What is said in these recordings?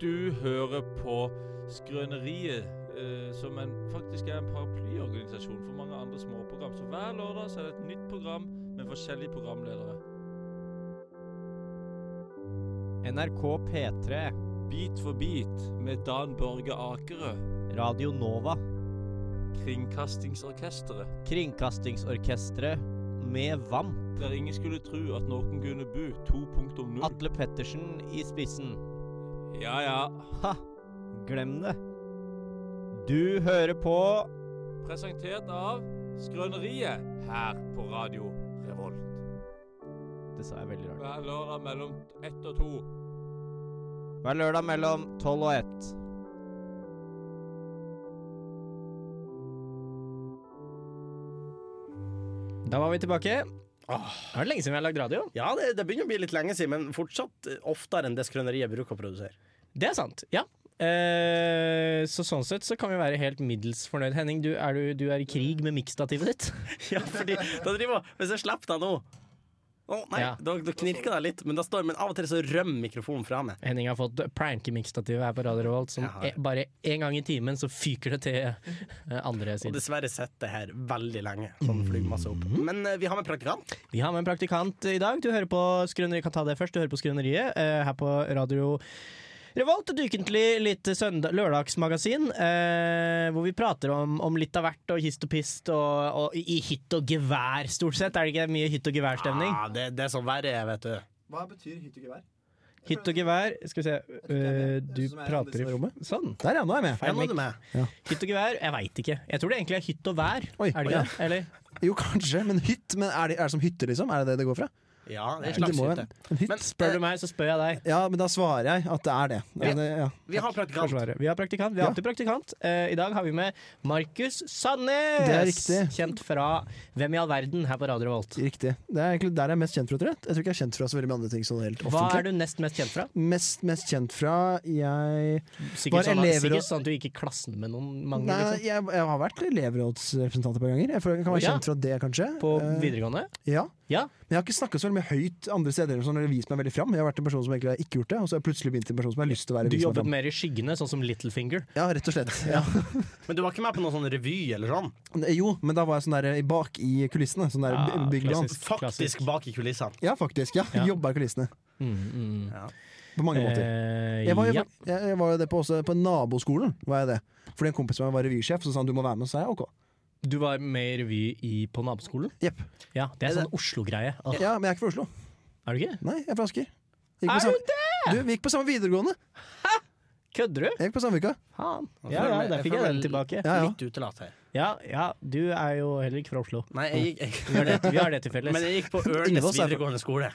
Du hører på Skrøneriet, eh, som en, faktisk er en paraplyorganisasjon for mange andre småprogram. Så hver lørdag så er det et nytt program med forskjellige programledere. NRK P3, Bit for bit med Dan Børge Akerø, Radio Nova, Kringkastingsorkesteret. Kringkastingsorkestret med VAMP, Der ingen skulle tru at noen kunne bu 2.0. Atle Pettersen i spissen. Ja ja. Ha! Glem det. Du hører på Presentert av Skrøneriet her på Radio Revolt. Det sa jeg veldig rart. Hver lørdag mellom ett og to. Hver lørdag mellom 12 og 1. Da var vi tilbake. Det er lenge siden vi har lagd radio. Ja, det, det begynner å bli litt lenge siden, men fortsatt eh, oftere enn det skrøneriet bruker å produsere. Det er sant. ja. Eh, så sånn sett så kan vi være helt middels fornøyd. Henning, du er, du, du er i krig med mikstativet ditt. Ja, fordi da driver Hvis jeg slipper deg nå Å nei, Ja. da, da knirker det litt, men, da står, men av og til så rømmer mikrofonen fra meg. Henning har fått prankemikstativet her på Radio Revolt, som Jeg har det. e- bare én gang i timen så fyker det til eh, andre Og sider. dessverre sitter jeg her veldig lenge. Sånn flyr masse opp. Men eh, vi har med praktikant. Vi har med en praktikant i dag. Du hører på Skrøneriet, kan ta det først. Du hører på Skrøneriet eh, her på Radio Revolt, et ukentlig lite søndag, lørdagsmagasin eh, hvor vi prater om, om litt av hvert og hist og pist og, og i- i hytt og gevær, stort sett. Er det ikke mye hytt og geværstemning? Ah, det, det er så verre er, vet du. Hva betyr hytt og gevær? Hytt og gevær Skal vi se. øh, du Det er som er prater i Anders. rommet. Sånn. Der, ja. Nå er jeg med. Ja, nå er mic. du med. Hytt og gevær? Jeg veit ikke. Jeg tror det egentlig er hytt og vær. Oi, er Eh. det ikke det? Eller? Jo, kanskje, men hytt men er, det, er det som hytte, liksom? Er det det det går fra? Ja, det er en Det slags må jo hytte. en, en hytt. Men Spør eh, du meg, så spør jeg deg. ja, men da svarer jeg at det er det. Ja, Ja. det ja. vi har praktikant. Forsvaret. Vi har praktikant. Vi har Ja. alltid praktikant. Eh, I dag har vi med Markus Sandnes. Det er riktig. Kjent fra Hvem i all verden her på Radio Volt. Riktig. Det er egentlig der jeg er mest kjent fra, tror jeg. Jeg tror ikke jeg er kjent fra så veldig mye andre ting sånn helt Hva er offentlig. du nest mest kjent fra? Mest, mest kjent fra jeg Sikkert, Var sånn at, elever og- sikkert sånn at du gikk i klassen med noen mange, Nei, liksom. jeg, jeg har vært elevrådsrepresentant et par ganger. Jeg, føler jeg kan være Ja. kjent fra det, kanskje. På Eh, videregående? ja. Ja. Men jeg har ikke snakket så veldig mye høyt andre steder. eller Sånn, eller vist meg veldig fram. Jeg har vært en person som egentlig har ikke gjort det, og så har jeg plutselig begynt en person som jeg har lyst til å være. Du vist meg jobbet fram. mer i skyggene, sånn som Littlefinger. Ja, rett og slett. Ja. Men du var ikke med på noen sånn revy eller sånn? Jo, men da var jeg sånn der i- bak i kulissene. Sånn der Ja, ja, byggeland. klassisk. Faktisk bak i kulissene. Ja, faktisk. ja, Ja. Jobba i kulissene. Mm, mm. På mange måter. Eh, Jeg var, jo, ja. jeg, jeg var jo det på, også, på naboskolen. var jeg det Fordi en kompis av meg var revysjef, så sa han du må være med. Så sa jeg ok. Du var med i revy i, på naboskolen? Jepp. Ja, Det er sånn Oslo-greie. Åh, Ja, Men jeg er ikke fra Oslo. Er du ikke? Nei, jeg er fra Asker. Gikk på Er du samme- Du, vi gikk på samme videregående. Kødder du? Jeg gikk på Sandvika. Faen. Ja, ja, der fikk jeg den tilbake. Ja, ja. Litt utelatt her. Ja, ja, du er jo heller ikke fra Oslo. Nei, jeg gikk Vi har det, vi har det til Men felles. jeg gikk på Ørnes Ingen av oss er- videregående skole.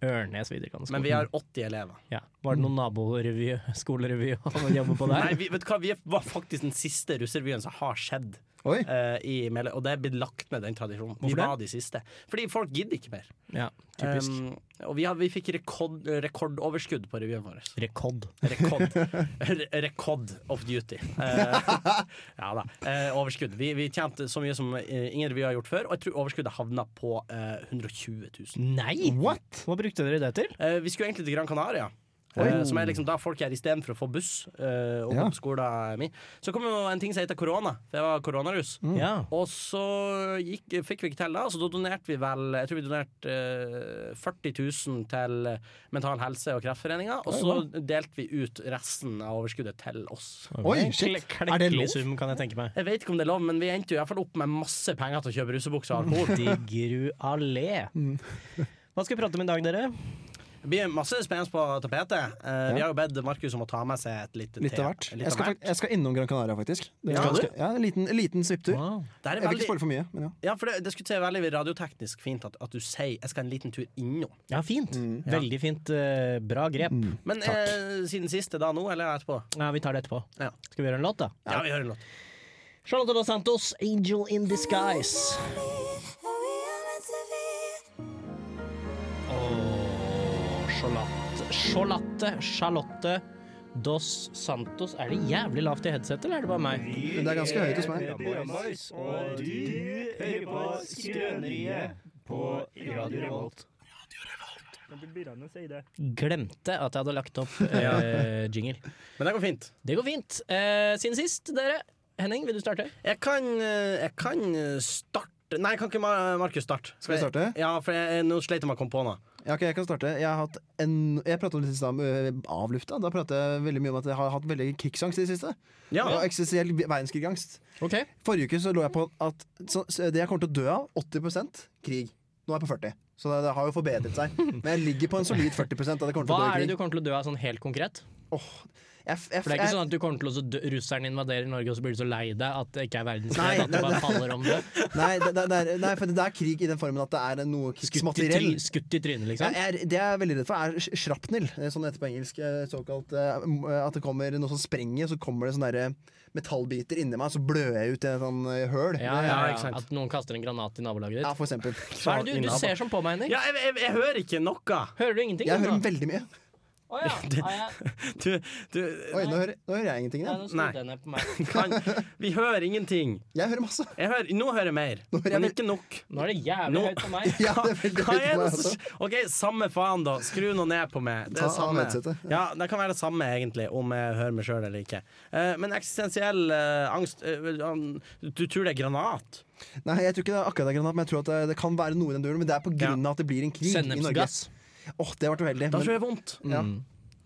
Ørnes videregående skole. Men vi har 80 elever. ja. Var det noen naborevy, skolerevy å jobbe på Nei, der? vi, vet du hva? vi var faktisk den siste russerevyen som har skjedd. Oi. eh, i Meløy, og det er blitt lagt ned, den tradisjonen. Hvorfor vi det? var de siste. Fordi folk gidder ikke mer. Ja, typisk. Um, og vi, har, vi fikk rekord, rekordoverskudd på revyen vår. Rekord. Rekord. Re- rekord of duty. Eh, ja da. Eh, overskudd. Vi, vi tjente så mye som eh, ingen revy har gjort før, og jeg tror overskuddet havna på eh, 120 000. Nei! What? Hva brukte dere det til? Eh, vi skulle egentlig til Gran Canaria. eh, som er liksom da folk er istedenfor å få buss eh, og gå Ja. på skolen min. Så kom jo en ting som heter korona. For jeg var koronarus. Ja. Og så gikk, fikk vi ikke til det, så da donerte vi vel Jeg tror vi donerte eh, 40 000 til Mental Helse og Kreftforeninga, og så delte vi ut resten av overskuddet til oss. Oi, shit. Kle- Er det lov? Klekkelig sum, kan jeg tenke meg. Jeg vet ikke om det er lov, men vi endte jo i hvert fall opp med masse penger til å kjøpe rusebukser og alkohol. Digru allé. Hva skal vi prate om i dag, dere? Det blir masse spennende på tapetet. Eh, Vi har jo bedt Markus om å ta med seg et lite Litt av te- hvert. Litt Jeg skal, fakt- jeg skal innom Gran Canaria, faktisk. Det- Skal du? Ja, En liten, en liten svipptur. Wow. Det er Jeg vil ikke veldig, spoile for mye. men ja ja, for det, det skulle se veldig radioteknisk fint at, at du sier 'jeg skal en liten tur innom'. Ja, fint. Veldig fint. eh, Bra grep. Men eh, siden siste, da nå, eller etterpå? Ja, vi tar det etterpå. Ja. Skal vi gjøre en låt, da? ja, vi hører en låt. Charlotte Dos Santos, 'Angel in Disguise'. Åh, Charlotte. Charlotte. Charlotte Dos Santos. Er det jævlig lavt i headsetet, eller er det bare meg? Men det er ganske høyt hos meg. Og du hører på Skrøneriet på Radio Revolt. Det blir byrende, sier det. Glemte at jeg hadde lagt opp eh, jingle. Men det går fint. Det går fint. Eh, siden sist, dere. Henning, vil du starte? Jeg kan, eh, jeg kan starte Nei, jeg kan ikke Mar- Markus starte. Skal jeg starte? Ja, for jeg, nå sleit jeg med å komme på noe. Ja, ok, jeg kan starte. Jeg har hatt en Jeg pratet om det i stad, om, ø, avlufta. Da pratet jeg veldig mye om at jeg har hatt veldig krigsangst i det siste. Ja, Og eksistensiell verdenskrigangst. Ok. Forrige uke så lå jeg på at så, så det jeg kommer til å dø av, 80 krig. Nå er jeg på 40 så det, det har jo forbedret seg. Men jeg ligger på en solid 40 at jeg kommer til Hva å dø er det i du krig. kommer til å dø av sånn helt konkret? Åh, jeg, jeg, For det er ikke jeg, sånn at du kommer til å så dø, russeren invaderer Norge, og så blir du så lei deg at det ikke er Nei, verdenskrig, at du nei, bare faller om det. nei, det, det, det er, nei, for det er krig i den formen at det er noe Skutt i, krigsmateriell. try, skutt i trynet, Ja, liksom. jeg er, det jeg er veldig redd for, er sh- shrapnel, eh, som det heter på engelsk. eh, Såkalt eh, m- eh, At det kommer noe som sprenger, så kommer det sånne der, eh, metallbiter inni meg, så blør jeg ut i et sånn eh, høl. Ja, ja, ikke ja. sant. At noen kaster en granat i nabolaget Ja, ditt. for eksempel. Hva er det du, du Innabo. ser som på meg, Henning? ja jeg, jeg, jeg hører ikke noe. Hører du ingenting? Jeg ennå? hører veldig mye. Å ja. Nei, jeg- Du, du Oi, nå hører, nå hører jeg ingenting nei, igjen. nå skrudde Nei. jeg ned på meg. kan, Vi hører ingenting. Jeg hører masse. Jeg hører, nå hører jeg mer, Nå hører jeg men mer. ikke nok. Nå er det jævlig Nå- høyt på meg. Ja, det er veldig Hva høyt er på det meg som også. OK, samme faen, da. Skru nå ned på meg. Det Ta er av samme. headsetet. Ja, det kan være det samme, egentlig, om jeg hører meg sjøl eller ikke. Eh, men eksistensiell eh, angst eh, um, Du tror det er granat? Nei, jeg tror ikke det er akkurat det, er granat, men jeg tror at eh, det, det kan være noe i den duren. Men det er på grunn av at det blir en krig i Norge. Sennepsgass. Åh, det har vært uheldig. Da tror Men, jeg Mm. det er vondt. ja. Mm.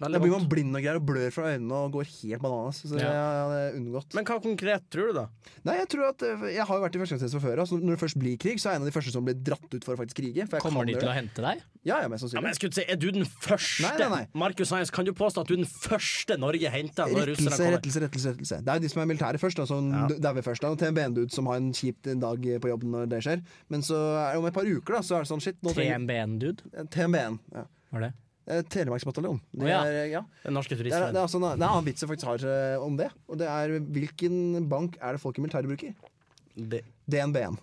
Da Veldig blir vondt. man blind og greier og blør fra øynene og går helt bananas. Så det Ja. har jeg unngått. Men hva konkret tror du, da? Nei, Jeg tror at eh, jeg har jo vært i førstegangstjeneste fra før av. så Når det først blir krig, så er jeg en av de første som blir dratt ut for å faktisk krige. For jeg Kommer kan de gjøre til å det. hente deg? Ja, ja, mest Ja, men jeg sannsynlig. skulle si, Er du den første? Nei, nei, nei. Markus Sainz, kan du påstå at du er den første Norge henta når russerne Rettelse, kommer? rettelse, rettelse, rettelse. Det er jo de som er militære først, da, som Ja. dauer først. da, Og TMB-en-dude som har en kjip dag på jobben når det skjer. Men så er det om et par uker, da, så er det sånn shit. nå trenger- TMBN-dude? TMB-en. Ja. Var det? Eh, Telemarksbataljon. Det, Å, ja. er- eh, ja. Den norske det, er- det er turistveien. altså en det er en annen vits jeg faktisk har eh, om det. Og det er hvilken bank er det folk i militæret bruker? Det- DNB-en.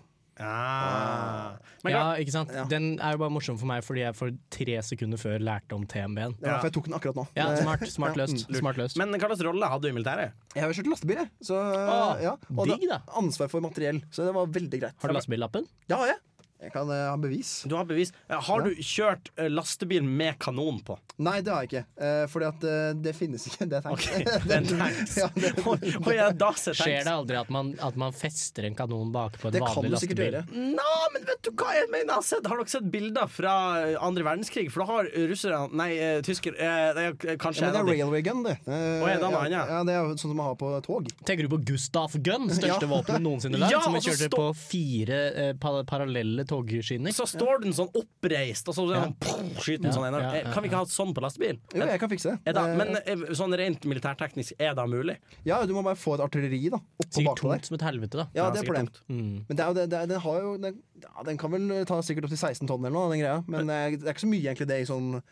Ah. Men Ja, ikke sant? Ja. Den er jo bare morsom for meg fordi jeg for tre sekunder før lærte om TMB-en. Det er Ja. derfor jeg tok den akkurat nå. Ja, Eh, smart, smart ja, Mm, løst. Smart løst. Men hva slags rolle hadde du i militæret? Jeg har jo kjørt lastebil, jeg. Så, Ah, ja. Og digg, det- ansvar for materiell. Så det var veldig greit. har du lastebillappen? Ja, har jeg. Jeg kan eh, ha bevis. Du har bevis. Eh, Har du kjørt eh, lastebil med kanon på? Nei, det har jeg ikke. Eh, fordi at eh, det finnes ikke. Det er tanks. Ok, det er tanks. ja, det, Oi, oi, ja, da ser Skjer det tanks. aldri at man, at man fester en kanon bakpå et det kan vanlig du sikkert lastebil? gjøre. Nå, men vet du hva jeg mener? Jeg har, sett, har dere sett bilder fra eh, andre verdenskrig? For da har russerne Nei, eh, tysker eh, det er Kanskje Ja, en av men det er de. railway gun, det. Eh, Å, ja, den har han, ja. ja. ja, det er jo sånn som man har på tog. Tenker du på Gustav Gunn, største våpenet noensinne lagd? Ja, som vi og så kjørte stå- på fire eh, pa parallelle togskinner? Så står den sånn oppreist, og så er det sånn, pff, skyter den Ja, sånn en. ja, Eh, ja, Kan vi ikke ha et sånn på lastebil? Jo, jeg kan fikse Er det. det, Eh, men eh, sånn rent militærteknisk, er det mulig? ja, du må bare få et artilleri da oppå Sikkert bakpå tungt der. som et helvete, da. Ja, det er sikkert problemet. tungt. Mm. Men det er jo det, det er, den har jo den, ja, den kan vel ta sikkert opp til 16 tonn eller noe, den greia. Men eh, det er ikke så mye egentlig det i sånn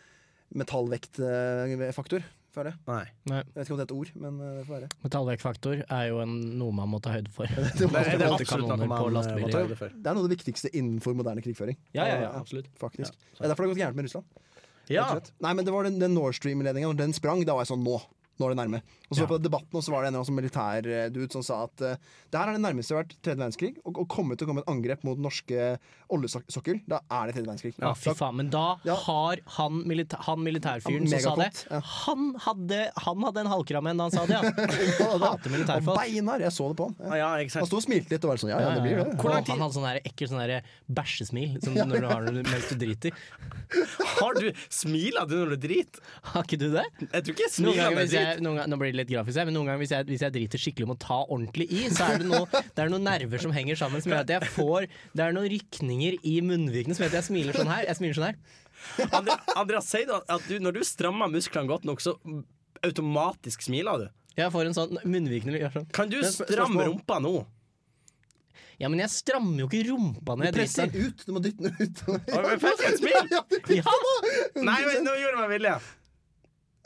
metallvektfaktor, føler jeg. Nei. Nei, Jeg vet ikke om det er et ord, men eh, det får være. Metallvektfaktor er jo en, noe man må ta høyde for. Det, Det er, det er Alltid absolutt kanoner noe på man eh, må ta lastebiler. høyde for. det er noe av det viktigste innenfor moderne krigføring. Ja, ja, ja, absolutt. Faktisk. det er derfor det har gått gærent med Russland. Ja, rett og slett. Nei, men det var den, den Nord Stream-ledninga, når den sprang, da var jeg sånn nå. Nå er det nærme. Og så var det på debatten, og så var det en eller annen sånn militærdude som sa at eh, det her er det nærmeste det har vært tredje verdenskrig, og, og kommer til å komme et angrep mot norske oljesokkel. Da er det tredje verdenskrig. Ja, Ah, fy faen, men da Ja. har han, milita han militærfyren Han som sa det, megaflott, ja. han, hadde, han hadde en halvkramme da han sa det, ja. Hater og militærfolk. beinar! Jeg så det på han. Ah, Ja. ja, ikke Han sant. sto og smilte litt og var sånn ja, ja, det blir det. Eh, Hvor lang Og Han hadde sånn der, ekkelt sånn der bæsjesmil som du- når du har når du, mens du driter. Har du Smiler du når du driter? Har ikke du det? Jeg tror ikke jeg Noen smiler ganger når jeg hvis driter. jeg, noen ganger, nå blir det litt grafisk her, men noen ganger hvis jeg, hvis jeg driter skikkelig og må ta ordentlig i, så er det, noe, det er noen nerver som henger sammen som gjør at jeg får Det er noen rykninger i munnvikene som gjør at jeg smiler sånn her. Jeg smiler sånn her. Andre- Andreas, sier du at- at du, når du strammer musklene godt nok, så automatisk smiler du? Jeg får en sånn Munnvikene gjør sånn. Kan du Men sp- stramme spørsmål. rumpa nå? Ja, men jeg strammer jo ikke rumpa når jeg Presser driter. den ut! Du må dytte den ut. Oi, men Fikk jeg et smil? ja, det- Ja, Nei, men nå gjorde jeg meg villig.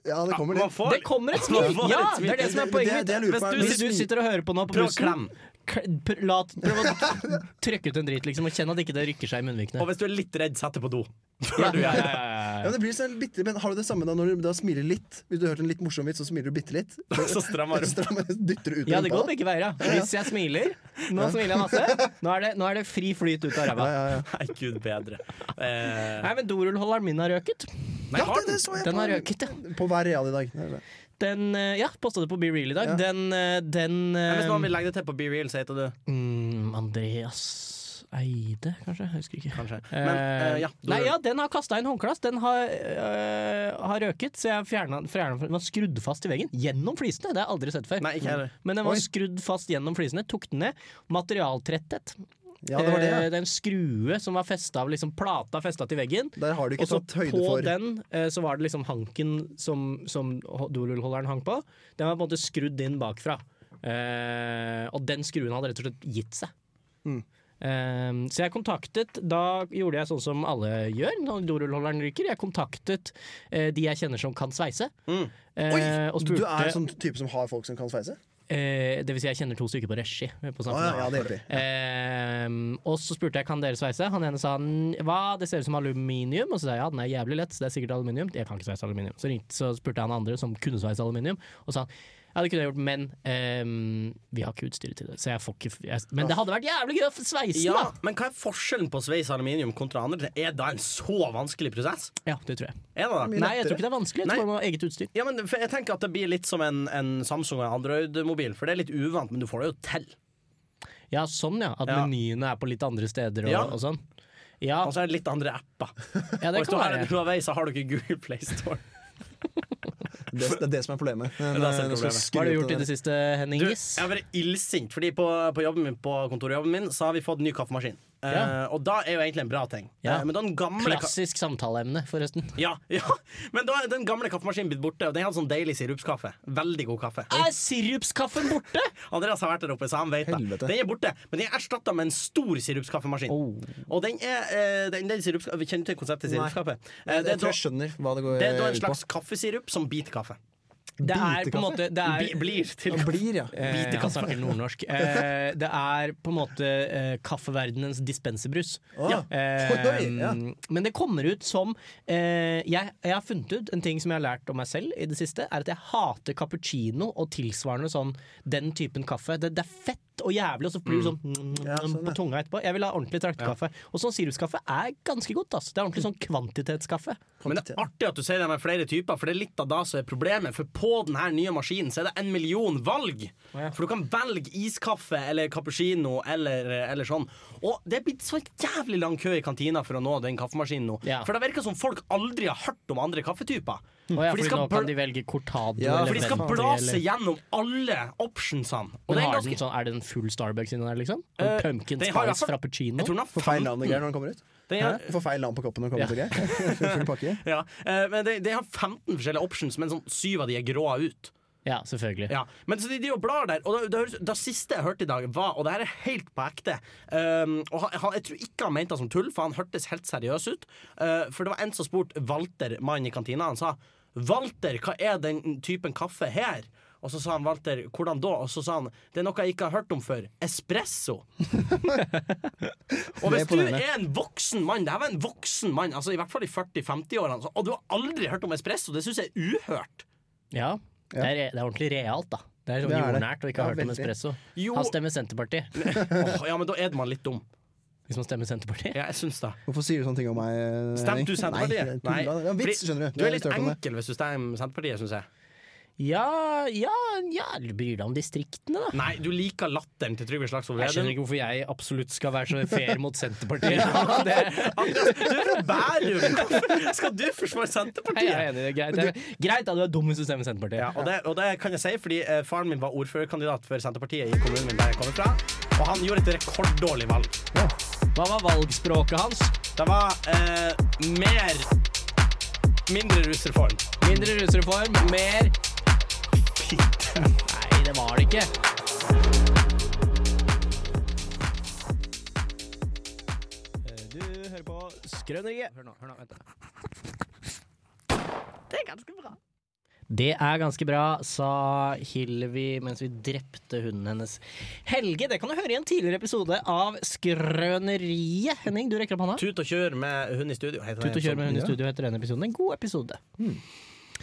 ja, det kommer Man litt. får det kommer et smil! Man får Ja, et smil. det er det som er det, poenget det jeg mitt. lurer Hvis på, er du når Hvis du smi- sitter og hører på nå på Prøv å bussen, klemme. k- pr- la- prøv å trykke ut en drit, liksom, og kjenn at ikke det rykker seg i munnvikene. Og hvis du er litt redd, sett det på do. før du Ja, er ja, ja, Ja, men det blir sånn bitte, men Har du det samme da når du da smiler litt? Hvis du hørte en litt morsom vits, så smiler du bitte litt? Så strammer du Så strammer- Dytter du ut Ja, rumpa det går da? begge veier. ja. Hvis jeg smiler Nå smiler jeg masse. Nå er det, nå er det fri flyt ut av ræva. Nei, gud bedre. Eh, Nei, men dorullholderen min har røket. nei, Ja, har det, det den? så jeg Den har på, røket, ja. på hver real i dag. Det er det. Den eh, Ja, posta det på Be Real i dag. Ja. Den, eh, den Nei, Hvis eh, noen vil legge det til på Be Real, så heter det mm, Andreas Eide, kanskje? Jeg husker ikke. kanskje. Men eh, ja, Nei, ja, den har kasta inn håndklass. Den har, eh, har røket, så jeg fjerna den. fjerna den. Den var skrudd fast i veggen. Gjennom flisene! Det har jeg aldri sett før. Nei, ikke heller. Men den var Oi. skrudd fast gjennom flisene. Tok den ned. Materialtretthet. Ja, det var det. Eh, ja. det er en skrue som var festa av liksom plata festa til veggen. Der har du Og ikke så tatt høyde på for den eh, så var det liksom hanken som, som ho- dorullholderen hang på. Den var på en måte skrudd inn bakfra. Eh, og den skruen hadde rett og slett gitt seg. Mm. Eh, så jeg kontaktet Da gjorde jeg sånn som alle gjør når dorullholderen ryker. Jeg kontaktet eh, de jeg kjenner som kan sveise. Mm. Eh, Oi! og Du spurte er sånn type som har folk som kan sveise? eh, Det vil si, jeg kjenner to stykker på regi. På Å, Samfunnet. ja, ja, det hjelper. Ehm, og så spurte jeg kan dere sveise. Han ene sa "N- hva, det ser ut som aluminium. Og så sa jeg ja, den er jævlig lett, så det er sikkert aluminium. Jeg kan ikke sveise aluminium. Så, ringte, så spurte jeg han andre som kunne sveise aluminium, og sa han ja, det kunne jeg gjort, men ehm, vi har ikke utstyret til det. Så jeg får ikke jeg, Men det hadde vært jævlig gøy å f- sveise, ja, da! men hva er forskjellen på sveis aluminium kontra andre? Er da en så vanskelig prosess? Ja, det tror jeg. Er det det? Mye Nei, jeg tror lettere. ikke det er vanskelig. Jeg Nei. tror man har eget utstyr. Ja, men for jeg tenker at det blir litt som en, en Samsung og en Android-mobil, for det er litt uvant, men du får det jo til. Ja, sånn ja. At Ja. menyene er på litt andre steder og, Ja. og sånn. Ja, Og så er det litt andre apper. ja, Og det hvis du kan har være. en Huawei, så har du ikke Google Play Store. Det, det er det som er problemet. Men, Det er selv eh, nå problemet. skal jeg skru Hva har du ut gjort i den det siste, Henning Du, Gis? jeg har vært illsint, fordi på, på, jobben min, på kontorjobben min så har vi fått ny kaffemaskin. Eh, Ja. og da er jo egentlig en bra ting. Ja. Eh, men den gamle ka- Klassisk samtaleemne, forresten. Ja, ja. Men da er den gamle kaffemaskinen blitt borte, og den hadde sånn deilig sirupskaffe. Veldig god kaffe. Er sirupskaffen borte? Andreas har vært der oppe, så han vet det. Helvete. Den er borte, men den er erstatta med en stor sirupskaffemaskin. Og den er eh, den, den sirupska Vi kjenner til konseptet sirupskaffe. Eh, Jeg det, er tror da, jeg skjønner hva det går det er da en ut eh, på. slags kaffesirup som biter kaffe. Det er på en måte det er, Bi- Blir til Det kaffe. Blir, ja. Eh, Hvite han snakker nordnorsk. Eh, det er på en måte eh, kaffeverdenens dispenserbrus. Å. Eh, Oi, ja. Men det kommer ut som eh, jeg, jeg har funnet ut en ting som jeg har lært om meg selv i det siste, er at jeg hater cappuccino og tilsvarende sånn den typen kaffe. Det, det er fett og jævlig, og så blir det sånn mm, Ja, sånn, ja. på tunga etterpå. Jeg vil ha ordentlig traktekaffe. Og sånn sirupskaffe er ganske godt, ass. Det er ordentlig sånn kvantitetskaffe. Men det er artig at du sier det med flere typer, for det er litt av det som er problemet. For på denne nye maskinen så er det en million valg. Ja. For du kan velge iskaffe eller cappuccino eller, eller sånn. Og det er blitt så jævlig lang kø i kantina for å nå den kaffemaskinen nå. Ja. For det virker som folk aldri har hørt om andre kaffetyper. Og ja, For Mm. de fordi skal nå kan bl- de velge cortado Ja, eller For de skal venti, blase eller- gjennom alle optionsene. Og Men det er har ganske- den sånn, er det en full Starbucks inni der, liksom? En Eh, pumpkin den har i hvert spice fall- frappuccino? jeg tror den Får har feil fem- navn Geir, når den kommer ut. den Hæ? har- Får feil navn på koppen når den kommer ut, Geir. Full pakke. ja, eh, men det, det har 15 forskjellige options, men sånn syv av de er grå ut. Ja, selvfølgelig. Ja, men så de driver og blar der, og det, det, høres- det siste jeg hørte i dag, var Og det her er helt på ekte. Um, og han, han, jeg tror ikke han mente det som tull, for han hørtes helt seriøs ut. Uh, for det var en som spurte Walter, mannen i kantina, han sa Walter, hva er den typen kaffe her? Og så sa han Walter, hvordan da? Og så sa han det er noe jeg ikke har hørt om før. Espresso. og hvis Det er du imponerende. er en voksen mann, det her var en voksen mann, altså i hvert fall i 40-50-årene, så- og du har aldri hørt om espresso, det syns jeg er uhørt. Ja. Det, er, det er ordentlig realt, da. Det er sånn Det er det. jordnært og ikke har Ja, hørt om veldig. espresso. Jo. Han stemmer Senterpartiet. Åh, ja, men da er man litt dum. Hvis man stemmer Senterpartiet. Ja, jeg syns det. Hvorfor sier du sånne ting om meg? eh, Stemte du Henning? Senterpartiet? Nei, det er tulla. Det er en vits, Fordi skjønner du. Du er litt størt om det. enkel hvis du stemmer Senterpartiet, syns jeg. Ja, ja, ja Du bryr deg om distriktene, da. Nei, du liker latteren til Trygve Slagsvold Jeg skjønner Vedum. ikke hvorfor jeg absolutt skal være så fair mot Senterpartiet. Det, Anders, du er fra Bærum! Hvorfor Skal du forsvare Nei, jeg er Senterpartiet? enig, i det er greit. Det er greit da, du er dum hvis du stemmer Senterpartiet. Ja, og, det, og det kan jeg si, fordi eh, faren min var ordførerkandidat for Senterpartiet i kommunen min der jeg kommer fra. Og han gjorde et rekorddårlig valg. Hva var valgspråket hans? Det var eh, mer Mindre rusreform. Mindre rusreform, mer Nei, det var det ikke. Du hører på Skrøneriet. Hør nå, hør nå, vent. Det er ganske bra. Det er ganske bra, sa Hillevi mens vi drepte hunden hennes. Helge, det kan du høre i en tidligere episode av Skrøneriet. Henning, du rekker opp hånda. Tut og kjør med hund i studio. heter Tut og den kjør med hund i Ja. studio heter denne episoden. En god episode.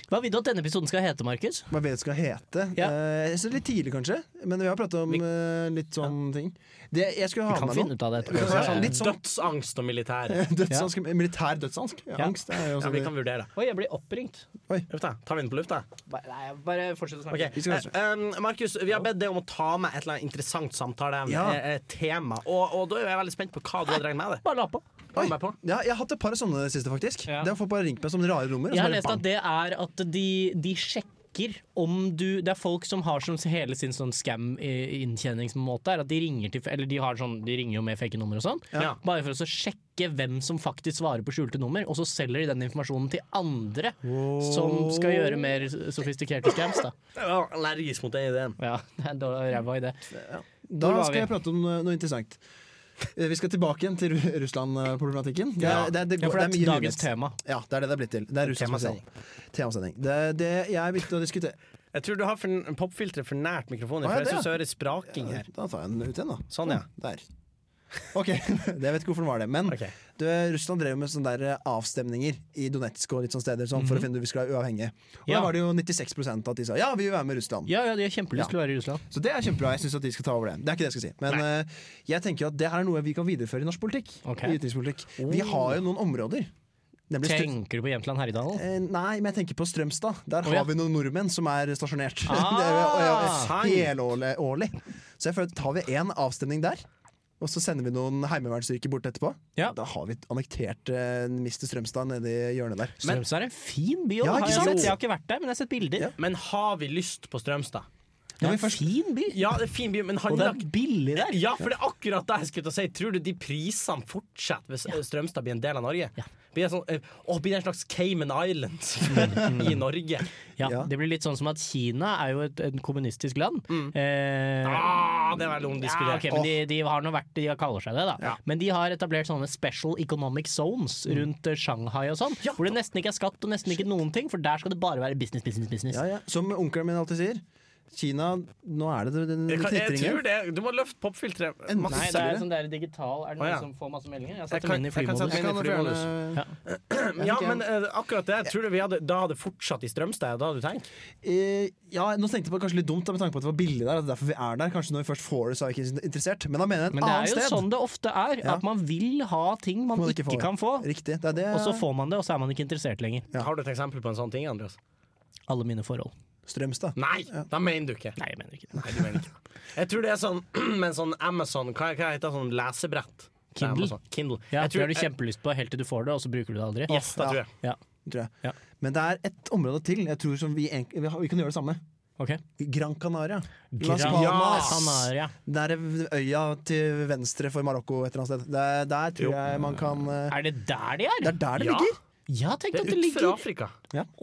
Hva vil du at denne episoden skal hete, Markus? Hva vet skal hete? Ja. Eh, så litt tidlig, kanskje. Men vi har pratet om Vi- eh, litt sånne ting. Det, jeg skulle ha Kan med finne meg ut av det noe. etterpå. Ja, sånn, som- litt sånn Dødsangst og militær. dødsansk, militær dødsansk. Ja, Ja. Angst er jo Ja, også vi det. kan vurdere det. Oi, jeg blir oppringt. Uff da, Tar vi den på lufta? Nei, jeg bare fortsett å Ok, snakke. Vi skal eh, um, Markus, vi har bedt deg om å ta med et eller annet interessant samtaleemne. Ja. eh, eh, Tema. Og, og da er jeg veldig spent på hva du har dreid med deg. Bare la på. Oi, Kom meg på. ja, jeg har hatt et par sånne siste, faktisk. Ja. Det har folk bare ringt meg som rare nummer. og så Jeg har bare lest bang. at det er at de, de sjekker om du Det er folk som har som hele sin sånn scam-inntjeningsmåte. er At de ringer til Eller de, har sånn, de ringer jo med fake nummer og sånn. Ja. Bare for å så sjekke hvem som faktisk svarer på skjulte nummer, og så selger de den informasjonen til andre som skal gjøre mer sofistikerte scams. Da. Jeg var allergisk mot den ideen. Ja, det er en dårlig ræva idé. Da Hvor var skal vi? jeg prate om eh, noe interessant. Eh, Vi skal tilbake igjen til Ru- Russland-problematikken. Det, er- det, er- det, Ja, går- for det det er mye dagens nyhet. tema. Ja, det er det det er blitt til. Det er Temasending. Russland-sending. Temasending. Det, er det jeg begynte å diskutere Jeg tror du har for, popfilteret for nært mikrofonen, for Å, ja, jeg det, syns ja. jeg hører spraking her. Da tar jeg den ut igjen, da. Sånn, ja. Der. OK. Jeg vet ikke hvorfor den var det. Men Ok. du, Russland drev med sånne der eh, avstemninger i Donetsk og litt sånne steder sånn, Mhm. for å finne ut om vi skulle være uavhengige. Og Ja. da var det jo 96 at de sa ja, vi vil være med Russland. Ja, ja, de har kjempelyst til å være i Russland. Så det er kjempebra. Jeg syns at de skal ta over det. Det er ikke det jeg skal si. Men eh, jeg tenker jo at det her er noe vi kan videreføre i norsk politikk. Ok. I utenrikspolitikk. Vi Oh. har jo noen områder. Nemlig Strø- Tenker du på Jämtland Herjedalen? Eh, Nei, men jeg tenker på Strømstad. Der Å, ja. har vi noen nordmenn som er stasjonert. Ah, Det sant. er jo- ja, Helårlig. årlig. Så jeg føler, tar vi én avstemning der, og så sender vi noen heimevernsstyrker bort etterpå, Ja. da har vi annektert eh, Mister Strømstad nede i hjørnet der. Strømstad er en fin by. og Ja, har ikke jeg, sant? sett. jeg har ikke vært der, men jeg har sett bilder. Ja. Men har vi lyst på Strømstad? Det er en fin by. Ja, det er fin by, men Og det handler er billig der. Ja, for det er akkurat det jeg skulle til å si. Tror du de prisene fortsetter hvis eh, Strømstad blir en del av Norge? Blir det sånn, eh, å, blir det en slags Cayman Islands i Norge? Ja, Ja. Det blir litt sånn som at Kina er jo et, et kommunistisk land. Eh, Ah, det er veldig ja, omdiskutert. ok, men de, de har nå vært De kaller seg det, da. Ja. Men de har etablert sånne special economic zones rundt eh, Shanghai og sånn. Hvor det nesten ikke er skatt og nesten ikke noen ting, for der skal det bare være business, business, business. Ja, ja. Som onkelen min alltid sier, Kina Nå er det den Jeg, kan, jeg tror titringen. det. Du må løfte popfilteret. En Nei, masse det er videre. sånn der digital Er det Å, noen ja. som får masse meldinger? Jeg har Jeg satt kan- dem inn i jeg kan sette flymodus. Jeg kan Minifly modus. Ja. fjerne Ja, men eh, akkurat det. Tror du vi hadde, da hadde fortsatt i Strømstad? er det Da hadde du tenkt? Eh, ja, nå tenkte jeg på det kanskje litt dumt da, med tanke på at det var billig der. At det er derfor vi er der. Kanskje når vi først får det, så er vi ikke interessert. Men da mener jeg et Men det er annet jo sted. sånn det ofte er. Ja. At man vil ha ting man, Man ikke ikke, får. kan få, Riktig. Det er det. og så får man det, og så er man ikke interessert lenger. Ja. Har du et eksempel på en sånn ting, Andreas? Alle mine forhold. Strømstad. Nei! Da mener du ikke. Nei, jeg mener ikke det. Nei, du mener ikke. det. Jeg tror det er sånn med en sånn Amazon Hva, hva heter det, sånn lesebrett? Det er Kindle? Amazon. Kindle. Ja, jeg for det tror, har du kjempelyst på helt til du får det, og så bruker du det aldri. yes, det Ja. tror jeg. Ja, Tror jeg. Ja. Men det er et område til jeg tror som vi, egentlig- vi, har- vi kan gjøre det samme. ok Gran Canaria. Las Gran Palmas. Canaria. Der er øya til venstre for Marokko et eller annet sted. Der, der tror Jo. jeg man kan eh, Er det der de er? Det er der det Ja. ligger! Jeg har tenkt Det at er det utenfor ligger Afrika.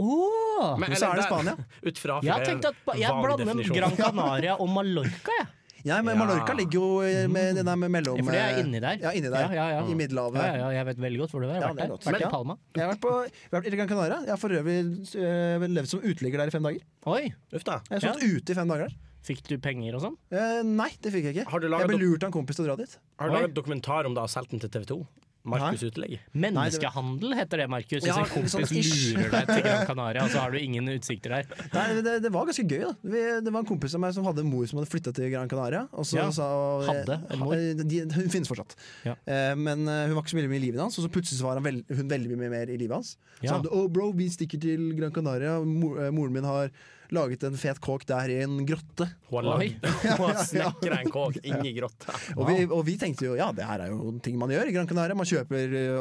Åh! Men, Men så er det Spania. Ut fra Jeg har tenkt at ba- Jeg blander Gran Canaria og Mallorca, jeg. Ja, men Ja. Mallorca ligger jo eh, med, den der med mellom Mm. Ja, for det er inni der. Ja, inni der. Ja, ja, ja. I Middelhavet. Ja, ja, jeg vet veldig godt hvor det var. Jeg Ja, har det er vært der. godt. Vært Men- i Palma. Jeg har vært på jeg har vært i Gran Canaria. Jeg har for øvrig øh, levd som uteligger der i fem dager. Oi! Uff da. Jeg har stått ute i fem dager der. Fikk du penger og sånn? Eh, nei, det fikk jeg ikke. Har du laget jeg ble lurt av en kompis til å dra dit. Har du Oi. laget dokumentar om det og solgt den til TV 2? Markus Uteligger. Menneskehandel heter det, Markus. Hvis Ja, en kompis sånn ish. lurer deg til Gran Canaria, og så har du ingen utsikter der. Nei, det, det var ganske gøy. da Vi, Det var en kompis av meg som hadde en mor som hadde flytta til Gran Canaria. Og så Ja, sa hadde en mor? Eh, De, hun finnes fortsatt. Ja. Eh, men eh, hun var ikke så veldig mye i livet hans, og så plutselig så var han vel- hun veldig mye mer i livet hans. Så Ja. han oh, bro, vi stikker til Gran Canaria. Mor, eh, moren min har laget en fet kåk der i en grotte. Hun har Oi. lagd den. Hun har snekra en kåk inni grotta. Og vi, og vi tenkte jo ja, det her er jo ting man gjør i Gran Canaria. Man kjøper ø,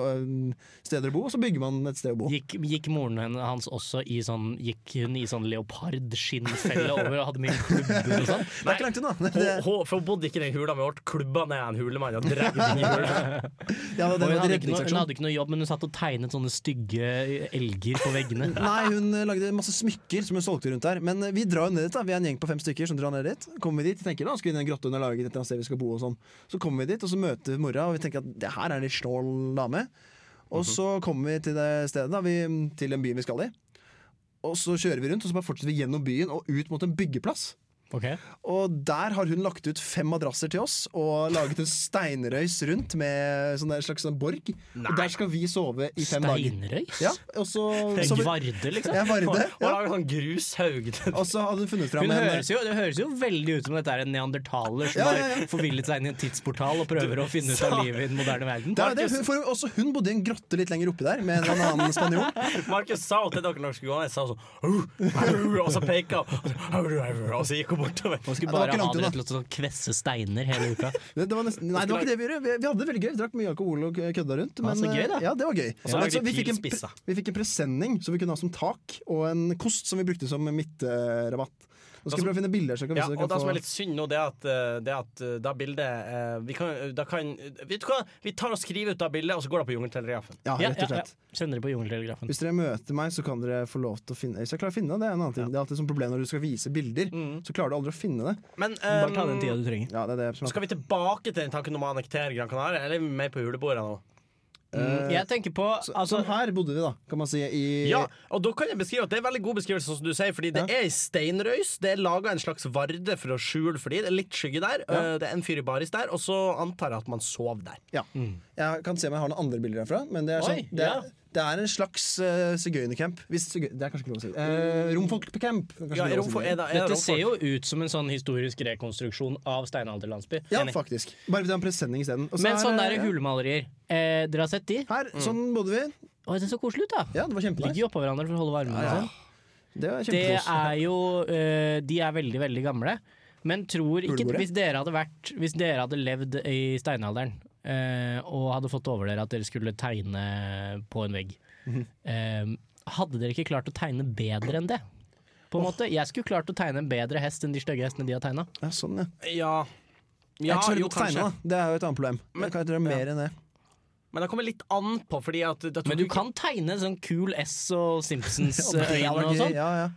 steder å bo, og så bygger man et sted å bo. Gikk, gikk moren hen- hans også i sånn Gikk hun i sånn leopardskinnfelle over og hadde mye klubber og sånn? Det er ikke langt unna. Det, Hun, hun, for hun bodde ikke i den hula, men ble klubba ned av en hulemann og drevet inn i hula. ja, det Og Hun hadde, ikke var noe, hun redningsaksjon. hadde ikke noe jobb, men hun satt og tegnet sånne stygge eh, elger på veggene. Nei, hun ø, lagde masse smykker som hun solgte rundt der. Men ø, vi drar jo ned dit. da Vi er en gjeng på fem stykker som drar ned dit. Kommer vi dit, tenker da skal vi inn i en grotte hun har laget et eller annet sted vi skal bo og sånn. Så kommer vi dit, og så møter vi mora, og vi tenker at det her er en litt snål Mhm. dame. Og så kommer vi til det stedet, da vi, til den byen vi skal i. Og så kjører vi rundt, og så bare fortsetter vi gjennom byen og ut mot en byggeplass. Ok. Og der har hun lagt ut fem madrasser til oss og laget en steinrøys rundt med sånn der slags sånn borg. Og der skal vi sove i fem dager. Steinrøys? Ja, og så, Det så er Gvarde, liksom? Jeg var det. Og Ja. lager sånn grushaug. Og så hadde hun funnet fram Hun en høres jo, det høres jo veldig ut som dette er en neandertaler som Ja, har ja, ja. forvillet seg inn i en tidsportal og prøver å finne ut av livet i den moderne verden. det er det. Hun, for også hun bodde i en grotte litt lenger oppi der med en eller annen spanjol. Markus sa til dere når dere skulle gå ned, sa sånn «Au, au», Og så peka hun, «Au, au, au», og så gikk hun bortover. Man Ja, det skulle var bare ikke ha langt dere til å sånn kvesse steiner hele uka. Det, det var nesten, nei, det var ikke det vi gjorde. Vi, vi hadde det veldig gøy. Vi drakk mye alkohol og kødda rundt. Men, så gøy, da. Ja, det var gøy. så lagde Altså, vi vi, fikk en, pilspissa. pre- vi fikk en presenning som vi kunne ha som tak, og en kost som vi brukte som midtrabatt. Nå skal som- jeg prøve å finne bilder. Så jeg kan Ja, vise dere og det som få- er litt synd nå, det er at, eh, det er at eh, da bildet eh, vi kan, da kan, eh, Vet du hva, vi tar og skriver ut da bildet, og så går det på Jungeltelegrafen. ja, Ja, rett ja, og ja. slett. Kjenner det på jungeltelegrafen. Hvis dere møter meg, så kan dere få lov til å finne Hvis jeg klarer å finne det, det er en annen ting. Det er alltid sånn problem når du skal vise bilder, så klarer du aldri å finne det. Men Bare ta den eh, tida du trenger. Ja, det er det som er skal vi tilbake til den tanken om å annektere Gran Canaria, eller er vi mer på julebordet nå? Mm, jeg tenker på så, altså, Sånn her bodde vi, da, kan man si, i Ja, og da kan jeg beskrive at det er en veldig god beskrivelse, sånn som du sier, fordi det er ei steinrøys. Det er laga en slags varde for å skjule fordi det er litt skygge der. eh, Det er en fyr i baris der, og så antar jeg at man sov der. Ja. Jeg kan se om jeg har noen andre bilder herfra. Men det er, sånn, Oi, det ja. er, det er en slags uh, sigøynercamp. Hvis sigøy- det er kanskje ikke lov å si. Uh, romfolkcamp. er kanskje Ja, ikke er lov å si romfolk- er det. det- er det Dette romfolk? ser jo ut som en sånn historisk rekonstruksjon av steinalderlandsby. Ja, Enig. faktisk. Bare vi tar en presenning isteden. Og så Men er sånn det- der hulemalerier. Eh, dere har sett de? Her, sånn bodde vi. Å, det ser så koselig ut, da. Ja, det var Ligger kjempenice. jo oppå hverandre for å holde varmen. og Ja, ja. sånn. Det var Det kjempekos. er jo eh, De er veldig, veldig gamle. Men tror ikke Julebordet? Hvis dere hadde vært Hvis dere hadde levd i steinalderen eh, og hadde fått over dere at dere skulle tegne på en vegg, Mhm. eh, hadde dere ikke klart å tegne bedre enn det? På en måte Jeg skulle klart å tegne en bedre hest enn de stygge hestene de har tegna. Ja, sånn, ja. Ja. Jeg Ja, er ikke så jo, veldig god til å kanskje. tegne, da. Det er jo et annet problem. Men- jeg kan ikke gjøre mer enn det. Men det kommer litt an på, fordi at da Men du kan tegne sånn kul S og Ja, Simpsons-øyne og gøy, sånn. ja, ja.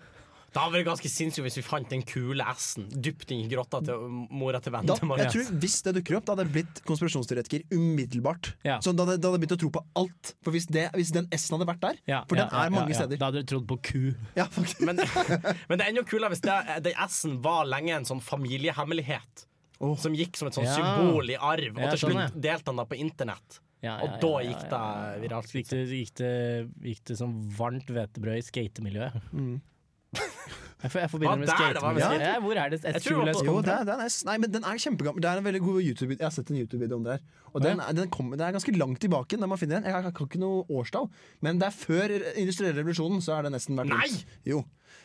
Da var det ganske sinnssykt hvis vi fant den kule S-en dypt inn i grotta til mora til vennen Da, til jeg Marius. tror Hvis det dukker opp, da hadde jeg blitt konspirasjonsteoretiker umiddelbart. Ja. Så da hadde, da hadde jeg begynt å tro på alt. For hvis, det, hvis den S-en hadde vært der Ja, For ja, den ja, er mange ja, ja. steder. Da hadde du trodd på ku. Ja, faktisk. Men, men det er enda kulere hvis det- den S-en var lenge en sånn familiehemmelighet. Åh. Som gikk som et sånn Ja. symbol i arv, og Ja, til sånn, slutt delte han det på internett. Ja, Og ja, da ja, ja, ja, gikk ja, det viralt, liksom. Gikk det, gikk det, gikk det som varmt hvetebrød i skatemiljøet? Mm. jeg, for, jeg Ah, forbinder det med der, det var med skatemiljøet. skate. Ja, hvor er det et Jeg tror det skjul jeg var på- Jo, skal det er, den er, s- nei, men den er kjempegammel. Det er en veldig god YouTube-video. Jeg har sett en YouTube-video om det her. Og den, er- den, kommer- den er ganske langt tilbake. Når man finner den Jeg har ikke noe årstall, men det er før industriell revolusjonen. Så er det nesten vært Nei! rundt. Jo.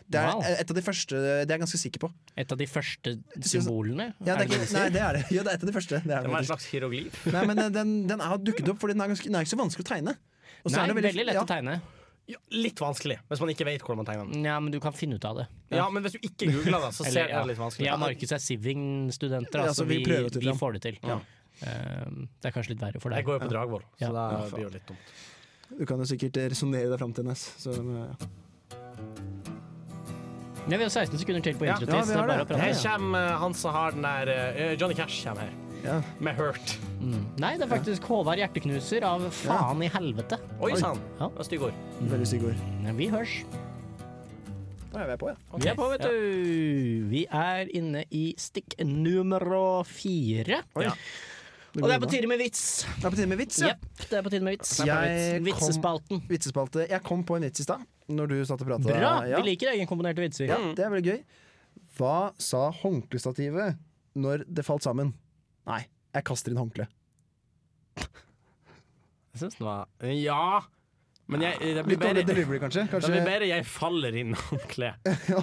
Det er Wow. et av de første Det er jeg ganske sikker på. Et av de første symbolene? Ja, det er det liksom- det er ikke, du nei, sier? det er det. Jo, det er et av de første. Det er Det det var en faktisk. slags hieroglyf. Nei, men eh, den, den har dukket opp, for den er, ganske, den er ikke så vanskelig å tegne. Og så Nei, er det veldig, lett ja. å tegne. Ja, litt vanskelig, hvis man ikke vet hvordan man tegner den. Ja, men du kan finne ut av det. Ja, Men hvis du ikke googler det, så ser Eller, det litt vanskelig Ja, Markus er Siving-studenter, Ja, altså så vi, vi prøver oss vi, fram. får det til. Um, det er kanskje litt verre for Jeg deg. går jo på Dragvoll, så Ja. det blir jo litt dumt. Du kan jo sikkert resonnere deg fram til NS. Så, eh, ja. Ja, vi har 16 sekunder til på Ja, introtis. ja, vi det er har bare det. å prate. Her kommer eh, han som har den der eh, Johnny Cash kommer her, Ja. med Hurt. Nei, det er faktisk Håvard Hjerteknuser av Faen i helvete. Oi sann, Ja. det var stygge ord. Veldig stygge ord. Men Vi hørs. Da er vi på, ja. Vi er på, vet du. Vi er inne i stikk nummer fire. Ja. Og det er på tide med vits. Det er på tide med vits, ja. Jepp, det er på tide med vits. Jeg kom- Vitsespalten. Vitsespalte. Jeg kom på en vits i stad, når du satt og prata. Bra! Ja. Vi liker Mm. egenkomponerte vitser. ja, det er veldig gøy. Hva sa håndklestativet når det falt sammen? Nei, jeg kaster inn håndkle. Jeg syns den var Eh, Ja, men jeg, det blir Litt dårlig bedre delivery, kanskje? Det blir kanskje? bedre jeg faller inn håndkle. Ja.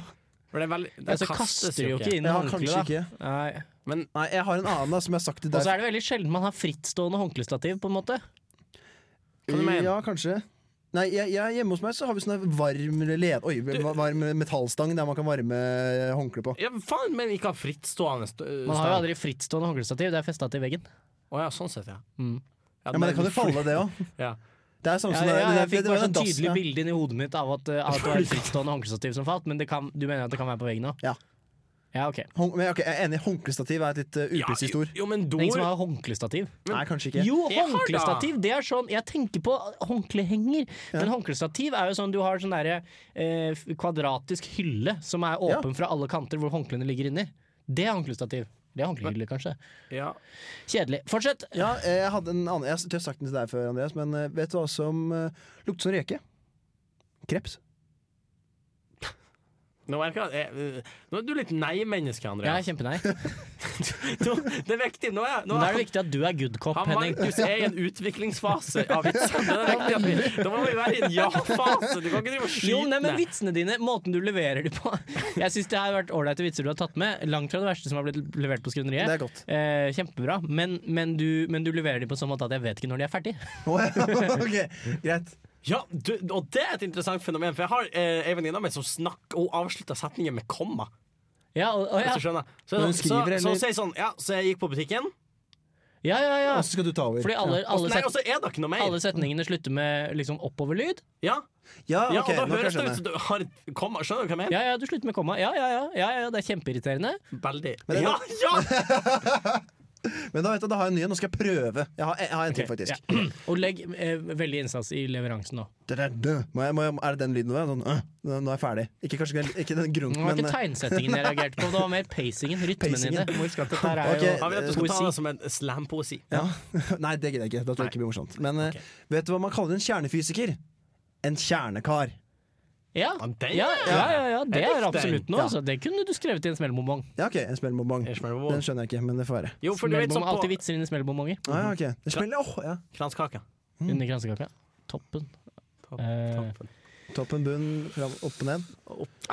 For det er veldig Altså, kaster jo ikke inn Ja, håndkle, kanskje da. ikke. Nei. Men Nei, jeg har en annen da, som jeg har sagt til Og så deg. er det veldig sjelden man har frittstående håndklestativ, på en måte. Hva du mener? Ja, kanskje. Nei, jeg, jeg, hjemme hos meg så har vi sånn der varm, led, oi, varm metallstang der man kan varme håndkle på. ja, faen, men vi ikke har frittstående st- Man har jo stand. aldri frittstående håndklestativ, det er festa til veggen. Å ja, sånn sett, ja. Mm. Ja, Men det kan jo falle, det òg. Ja. Det er samme Ja, som ja, det- det- jeg fikk det- det bare var sånn den dass- tydelig ja. eh, bilde inn i hodet mitt av at, uh, at det var et frittstående håndklestativ som falt, men det kan, du mener at det kan være på veggen òg? Ja. Ja, ok. Det Hånd- men ok, Jeg er enig, håndklestativ er et litt uh, upresist ord. Jo, men er ingen som dor har håndklestativ. Nei, kanskje ikke. Jo, Jeg har da. håndklestativ! Det er sånn Jeg tenker på håndklehenger. Men håndklestativ er jo sånn du har sånn derre eh, kvadratisk hylle som er åpen fra alle kanter, hvor håndklærne ligger inni. Det er håndklestativ. Det er håndklehylle, kanskje. ja. Kjedelig. Fortsett! Ja, eh, jeg hadde en annen Jeg har- jeg har sagt den til deg før, Andreas, men eh, vet du hva som eh, lukter som reke? Kreps. Nå merker jeg at jeg- eh, Nå er du litt nei-menneske, Jeg er Andreas. kjempenei. Nå, det er viktig. Nå er, nå Men da er er det viktig at du er good cop, han Henning. Markus er i en utviklingsfase av vitsen. Det er viktig at vi, da må vi være i en ja-fase. Du kan ikke drive Jo, nei, og skyte men ned. Vitsene dine, måten du leverer dem på Jeg syns det har vært ålreite vitser du har tatt med. Langt fra det verste som har blitt levert på Skrøneriet. Det er godt. Eh, kjempebra, men, men, du, men du leverer dem på en sånn måte at jeg vet ikke når de er ferdig. Å, ja, ok, Greit. Ja, du, og det er et interessant fenomen. For jeg har eh, ei venninne av meg som snakker Hun avslutter setninger med komma. Ja, og, og, Hvis ja. Altså, du skjønner Så, Når hun så, så, skriver, så eller? hun sier sånn Ja, så jeg gikk på butikken. ja, ja, ja. Og så skal du ta over. Fordi alle, Og, alle, nei, og set, så er det ikke noe mer. alle setningene slutter med liksom oppoverlyd. Ja, Ja, Ah, ja og ok, da nå kan jeg høres det ut skjønne. som du har et komma. Skjønner du hva jeg mener? Ja, ja, du slutter med komma. Ja, ja, ja. ja, ja det er kjempeirriterende. Veldig. Men det- Ja, ja! Men da vet jeg, da har jeg en ny en. Nå skal jeg prøve. Jeg har, jeg har en til, faktisk. Ja. Og legg eh, veldig innsats i leveransen nå. Det der, dø. Må jeg, må jeg, er det den lyden? der? Sånn, øh, nå er jeg ferdig. Ikke, kanskje, ikke- ikke den grunnen, Det var men ikke eh, tegnsettingen jeg reagerte på, det var mer pacingen, rytmen i Pacingen. det. Dette her er Ok, jo Jeg vil at du skal ta poesi. det som en slampoesi. ja. Nei, det gidder jeg ikke. Da tror jeg ikke det blir morsomt. Men eh, vet du hva man kaller en kjernefysiker? En kjernekar. Ja. Ja, den- Ja, ja, ja, ja, det er Jeg likte den. absolutt noe. Ja. Altså. Det kunne du skrevet i en smellbonbong. Ja, OK, en smellbonbong. En smellbonbong. Den skjønner jeg ikke, men det får være. Jo, for du vet sånn Smellbonbong, alltid på vitser inni smellbonbonger. Ah, ja, ok. Det smeller, åh, ja. Kranskaka. Under kransekaka. Toppen. Topp, Eh. toppen. Toppen, bunn, fram, opp og ned.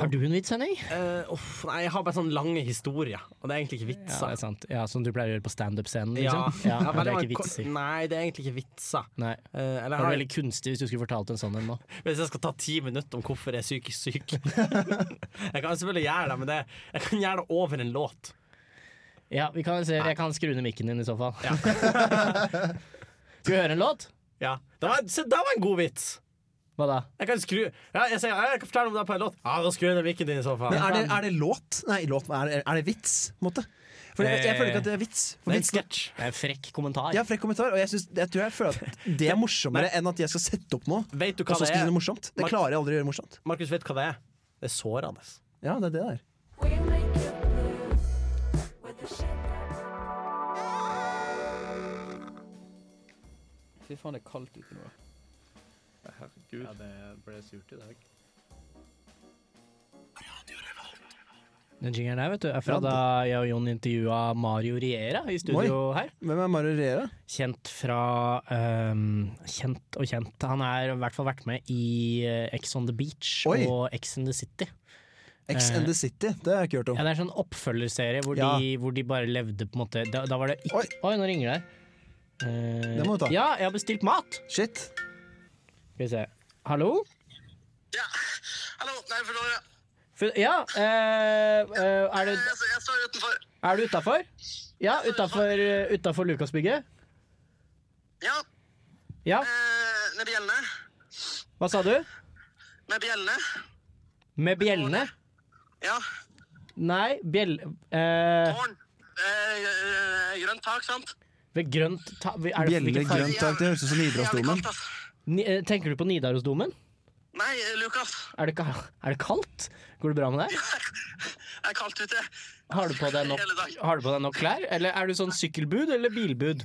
Har du en vits, Henning? Eh, uff, nei, jeg har bare sånne lange historier, og det er egentlig ikke Ja, vitser. det er sant. Ja, Som du pleier å gjøre på standup-scenen, Ja, liksom? Ja, ja, men det veldig er mange ikke ko- vitser. Nei, det er egentlig ikke vitser. Nei. Eh, eller Det var har veldig kunstig hvis du skulle fortalt en sånn en nå. Hvis jeg skal ta ti minutter om hvorfor jeg er psykisk syk Jeg kan selvfølgelig gjøre det, men det, jeg kan gjøre det over en låt. Ja, vi kan se, Jeg kan skru ned mikken din i så fall. Ja. Skal vi høre en låt? Ja. Det var, se, det var en god vits! Hva da? Jeg kan skru ja, jeg, sier, jeg kan fortelle om det på en låt. Ja, da skrur jeg ned mikken din i så fall. Men er det, er det låt? Nei, låt, er, det, er det vits, på en måte? For jeg, jeg føler ikke at det er vits. For Det er en vits sketsj. Det er en frekk kommentar. ja, frekk kommentar, og jeg, synes, jeg tror jeg føler at det er morsommere enn at jeg skal sette opp noe. Vet du Og hva så det skal jeg gjøre er? noe morsomt. Det klarer jeg aldri å gjøre morsomt. Markus, vet du hva det er? Det er sårende. Ja, det er det der. We'll make you blues with the shake. Fy faen, det er kaldt ute nå. Ja, det ble surt i dag. Den jingeren der vet du, er fra da jeg og Jon intervjua Mario Riera i studio her. Hvem er Mario Riera? Kjent fra ehm, Kjent og kjent. Han har i hvert fall vært med i eh, Ex on the Beach Oi. og Ex in the City. X Eh, and the City, det har jeg ikke hørt om. Ja, Det er sånn oppfølgerserie hvor, Ja. de, hvor de bare levde på en måte Da, da var det ikke Oi. Oi, nå ringer det her. Eh, Det må du ta. Ja, jeg har bestilt mat! Shit. Skal vi se. Hallo? Ja, hallo. Nei, for nå- F- Ja, eh, eh, er, jeg, du, jeg står utenfor. er du utafor? Ja, utafor, eh, utafor Lukasbygget. Ja, Ja, eh, med bjellene. hva sa du? Med bjellene. Med bjellene? Ja. Nei, bjell... Eh, Tårn. Eh, eh, grønt tak, sant? ved grønt ta... Er det, Bjelle hvilken farge- grønt tak, det høres ut som Jævlig Nidarosdomen. kaldt, ass. Ni- eh, Tenker du på Nidarosdomen? Nei, eh, Lukas. Er det, ka- er det kaldt? Går det bra med deg? Det er kaldt ute. Har du på deg nok, Hele dag. har du på deg nok klær? Eller er du sånn sykkelbud eller bilbud?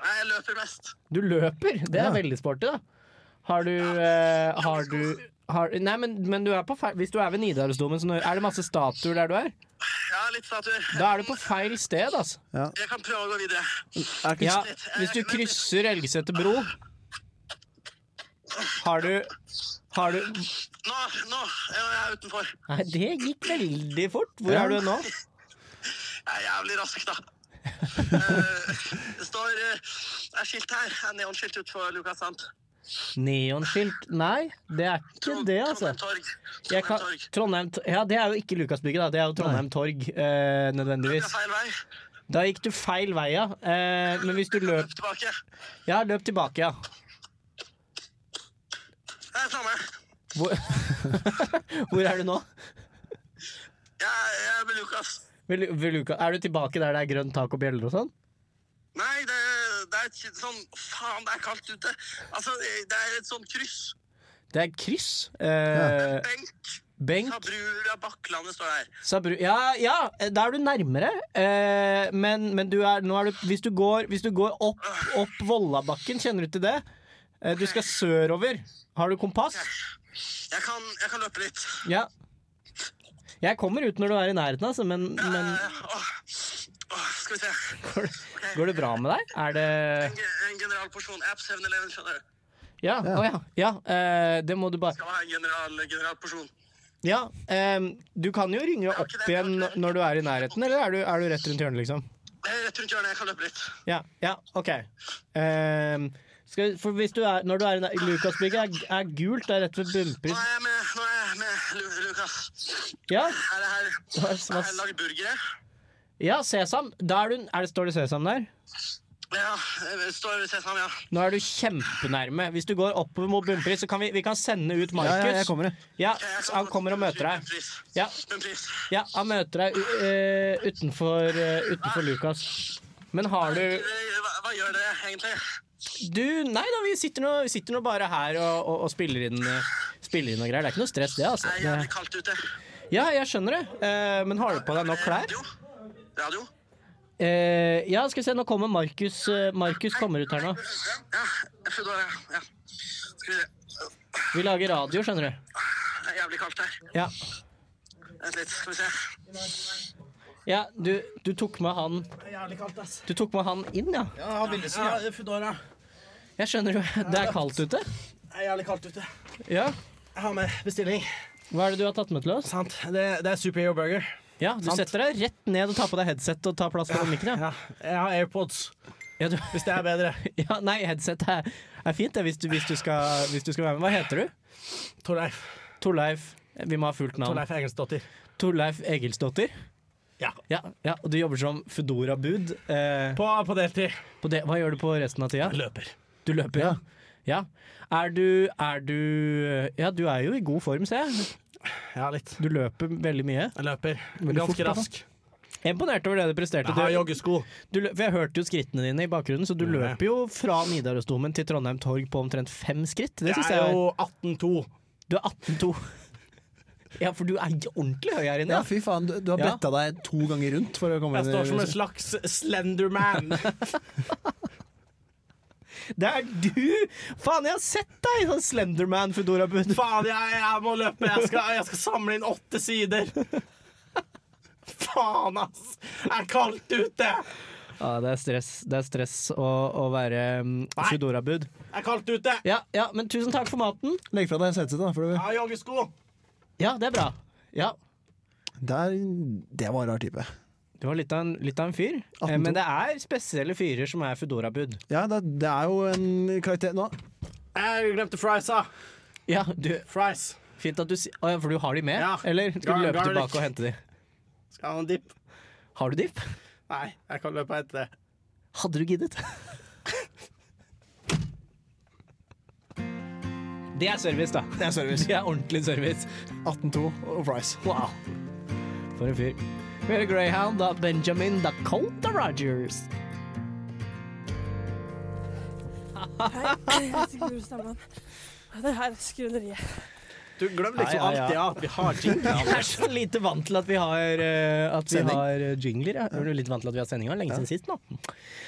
Nei, jeg løper mest. Du løper! Det er veldig sporty, da. Har du, eh, har du har, Nei, men, men du er på feil, hvis du er ved Nidarosdomen, så nå- er det masse statuer der du er? Ja, litt statuer. Da er du på feil sted, altså. Jeg kan prøve å gå videre. Er ikke- Ja, hvis du krysser Elgeseter bro Har du Har du Nå, nå er jeg utenfor. Nei, det gikk veldig fort. Hvor er du nå? Jeg er jævlig rask, da. Eh, det står eh, er skilt her. Det er neonskilt utenfor Lukas, sant? Neonskilt? Nei, det er ikke det, altså. Trondheim Torg. Jeg Trondheim kan, Torg. Trondheim, ja, det er jo ikke Lukasbygget, da. Det er jo Trondheim Torg, eh, Det er nødvendigvis. feil vei. Da gikk du feil vei, ja. Eh, men hvis du løp Tilbake. Ja, løp tilbake, ja. Jeg er framme. Hvor, Hvor er du nå? Jeg, jeg er med Lukas. Vil, vil Luka, er du tilbake der det er grønn tak og bjeller og sånn? Nei, det, det er et sånn Faen, det er kaldt ute. Altså, det er et sånn kryss. Det er kryss. Eh, Benk. benk, Sabrura Bakklandet står der. sabru... Ja, ja, da er du nærmere. Eh, men men du er, nå er du, hvis, du går, hvis du går opp, opp Vollabakken, kjenner du til det? Eh, du skal sørover. Har du kompass? Jeg kan, jeg kan løpe litt. Ja. Jeg kommer ut når du er i nærheten, altså, men, men Eh, åh, åh, skal vi se. går, det, går det bra med deg? Er det En, ge- en generalporsjon. Jeg er på 7-Eleven, skjønner du. Ja, å ja. ja eh, det må du bare Skal ha en general, generalporsjon. Ja, ehm, du kan jo ringe opp igjen når du er i nærheten, eller er du, er du rett rundt hjørnet, liksom? Det er rett rundt hjørnet. Jeg kan løpe litt. Ja, ja, OK. Ehm, skal, for hvis du er, når du er i nær- Lukasbygget er, er gult, det er rett ved Nå bunnpris. er jeg med, nå er jeg med Lu Lukas. Ja, Er det her hva, Har hva, jeg lagd burgere? ja, sesam. Da er du, er det, står det sesam der? Ja. det Står sesam, ja. Nå er du kjempenærme. Hvis du går oppover mot bunnpris, så kan vi, vi kan sende ut Ja, ja, Markus. jeg kommer, jeg. Ja, Jeg kan- han kommer og møter deg. Bunnpris. Ja. Bunnpris. Ja, han møter deg u- eh, utenfor, eh, utenfor Lukas. Men har du eh, Hva, hva gjør dere egentlig? Du, nei da, vi sitter nå, vi sitter nå bare her og, og, og spiller, inn, eh, spiller inn og greier. Det er ikke noe stress, det, altså. Det er jævlig kaldt ute. Det- Ja, jeg skjønner det. Eh, men har du på deg nok klær? Radio? Radio? Eh, ja, skal vi se, nå kommer Markus. eh, Markus kommer ut her nå. Ja, jeg fødte året. Ja. Skal vi se. Vi lager radio, skjønner du. Det er jævlig kaldt her. Ja, Vent litt, skal vi se. ja du, du tok med han Jævlig kaldt, ass. Du tok med han inn, ja? Ja, Villesen, ja. Foodora. Jeg skjønner jo, det er kaldt ute. Det er jævlig kaldt ute. Ja, Jeg har med bestilling. Hva er det du har tatt med til oss? Sant. Det, det er Superhero Burger. Ja, Du setter deg rett ned og tar på deg headset og tar plass foran mikken, ja. Ja. Jeg har AirPods, ja, du, hvis det er bedre. ja nei, headset er, er fint det, hvis du, hvis, du skal, hvis du skal være med. Hva heter du? Torleif. Torleif. Vi må ha fullt navn. Torleif Engelsdottir. Torleif Egilsdottir. Ja. Ja, ja, og du jobber som Foodora-bud. Eh, På, på deltid. på det- hva gjør du på resten av tida? Løper. Du løper, ja. ja. Er du Er du Ja, du er jo i god form, ser jeg. Ja, litt. Du løper veldig mye. Jeg løper. Veldig fort, Ganske da. rask. Jeg er Imponert over det du presterte. Jeg har Du, joggesko. du, lø- for jeg hørte jo skrittene dine i bakgrunnen, så du Ja, ja. løper jo fra Nidarosdomen til Trondheim Torg på omtrent fem skritt. Det syns Jeg jeg er er jo 18,2. Du er 18,2. Ja, for du er jo ordentlig høy her inne. Ja, fy faen, du, du har Ja. bretta deg to ganger rundt for å komme Jeg inn i står som en slags Slenderman. Det er du! Faen, jeg har sett deg i sånn Slenderman-Foodora-bud. Faen, jeg, jeg må løpe. Jeg skal, jeg skal samle inn åtte sider. Faen, ass! Det er kaldt ute! Ja, det er stress, det er stress å, å være um, Nei. Foodora-bud. Det er kaldt ute! Jeg Ja, ja, men tusen takk for maten. Legg fra deg headsetet, da. For det, har joggesko. Ja, det er bra. Ja, der, det var en rar type. du var litt av en, litt av en fyr. Eh, 18-2. Men det er spesielle fyrer som er Foodora-bud. Ja, det, det er jo en karakter Nå, Jeg glemte friesa. Ja, du, Fries. fint at du sier Å ja, for du har de med? Ja. Eller skal du Gar- løpe garlic. tilbake og hente de? Skal jeg ha en dipp? Har du dipp? Nei, jeg kan løpe etter det. Hadde du giddet? Det er service, da. Det er service. Det er ordentlig service. 18-2 og Fries. Wow. For en fyr. Vi hører Greyhound da Benjamin Dakota Rogers. Hei, jeg vet ikke hvor du snakker om. Det her er skrøneriet. Du glemmer liksom Ja, ja, ja. alltid at vi har Jeg er jingler. så lite vant til at vi har, eh, at vi Sending. har eh, jingler. Ja. Er du litt vant til at vi har sendinger? Lenge siden sist nå.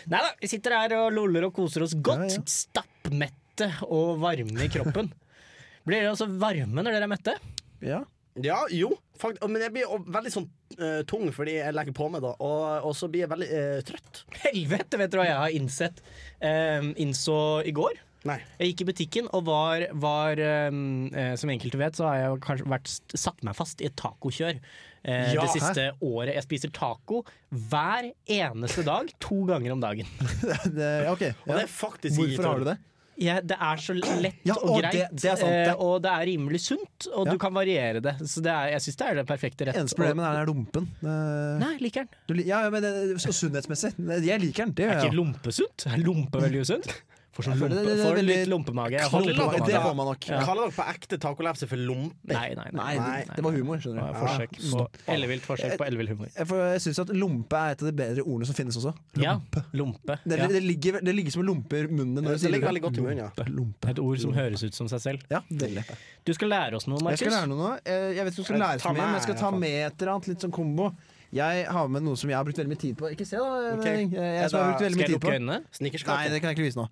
Nei da, vi sitter her og loller og koser oss godt. Ja, ja. Stappmette og varme i kroppen. Blir dere også varme når dere er mette? Ja. Ja, jo. Fakt, men jeg blir jo veldig sånn eh, tung fordi jeg legger på meg, da. Og, og så blir jeg veldig eh, trøtt. Helvete, vet dere hva jeg har innsett? Eh, innså i går. Nei. Jeg gikk i butikken og var, var ehm, eh, Som enkelte vet, så har jeg jo kanskje vært, st- satt meg fast i et tacokjør eh, Ja, det hæ? siste året. Jeg spiser taco hver eneste dag, to ganger om dagen. Det, ja, ok. Og det Ja. er faktisk Hvorfor har du det? Jeg, det er så lett Ja, og og greit, det- det er sant, det. eh, og det er rimelig sunt, og Ja. du kan variere det. Så det er, jeg syns det er den perfekte rett. Eneste problemet er den er lumpen. Og- Det, Nei, liker den. du, li- ja, ja, men det, så sunnhetsmessig. Jeg liker den. Det Er gjør ikke jeg. lompesunt? Er lompe veldig usunt? For sånn Jeg føler lompe, det- det- det er for veldig- litt lompemage. Jeg har Kaller lompemage. dere- Det får man nok. Kaller dere på ekte tacolefse for lomper? Nei, nei, nei. Nei, det var humor, Ah, Det skjønner var du. forsøk på ellevilt forsøk på ellevill humor. Jeg, får- jeg syns at lompe er et av de bedre ordene som finnes også. Ja, lompe. Det, Ja. det, ligger, det ligger som en lompe i munnen når du Det sier ligger veldig godt i munnen, ja. Lompe. Et ord som høres ut som seg selv. Ja, deilig. Du skal lære oss noe, Jeg skal Markus. lære noe nå. Eh, Jeg vet ikke om jeg skal Jeg lære så tar mye, men jeg med- skal ta med et eller annet, litt sånn kombo. Jeg har med noe som jeg har brukt veldig mye tid på. Ikke se, da. Ok. Henning. Jeg, jeg, som Da har brukt Skal veldig mye jeg tid på. lukke øynene? Nei, Snickerskake. det kan jeg ikke vise nå.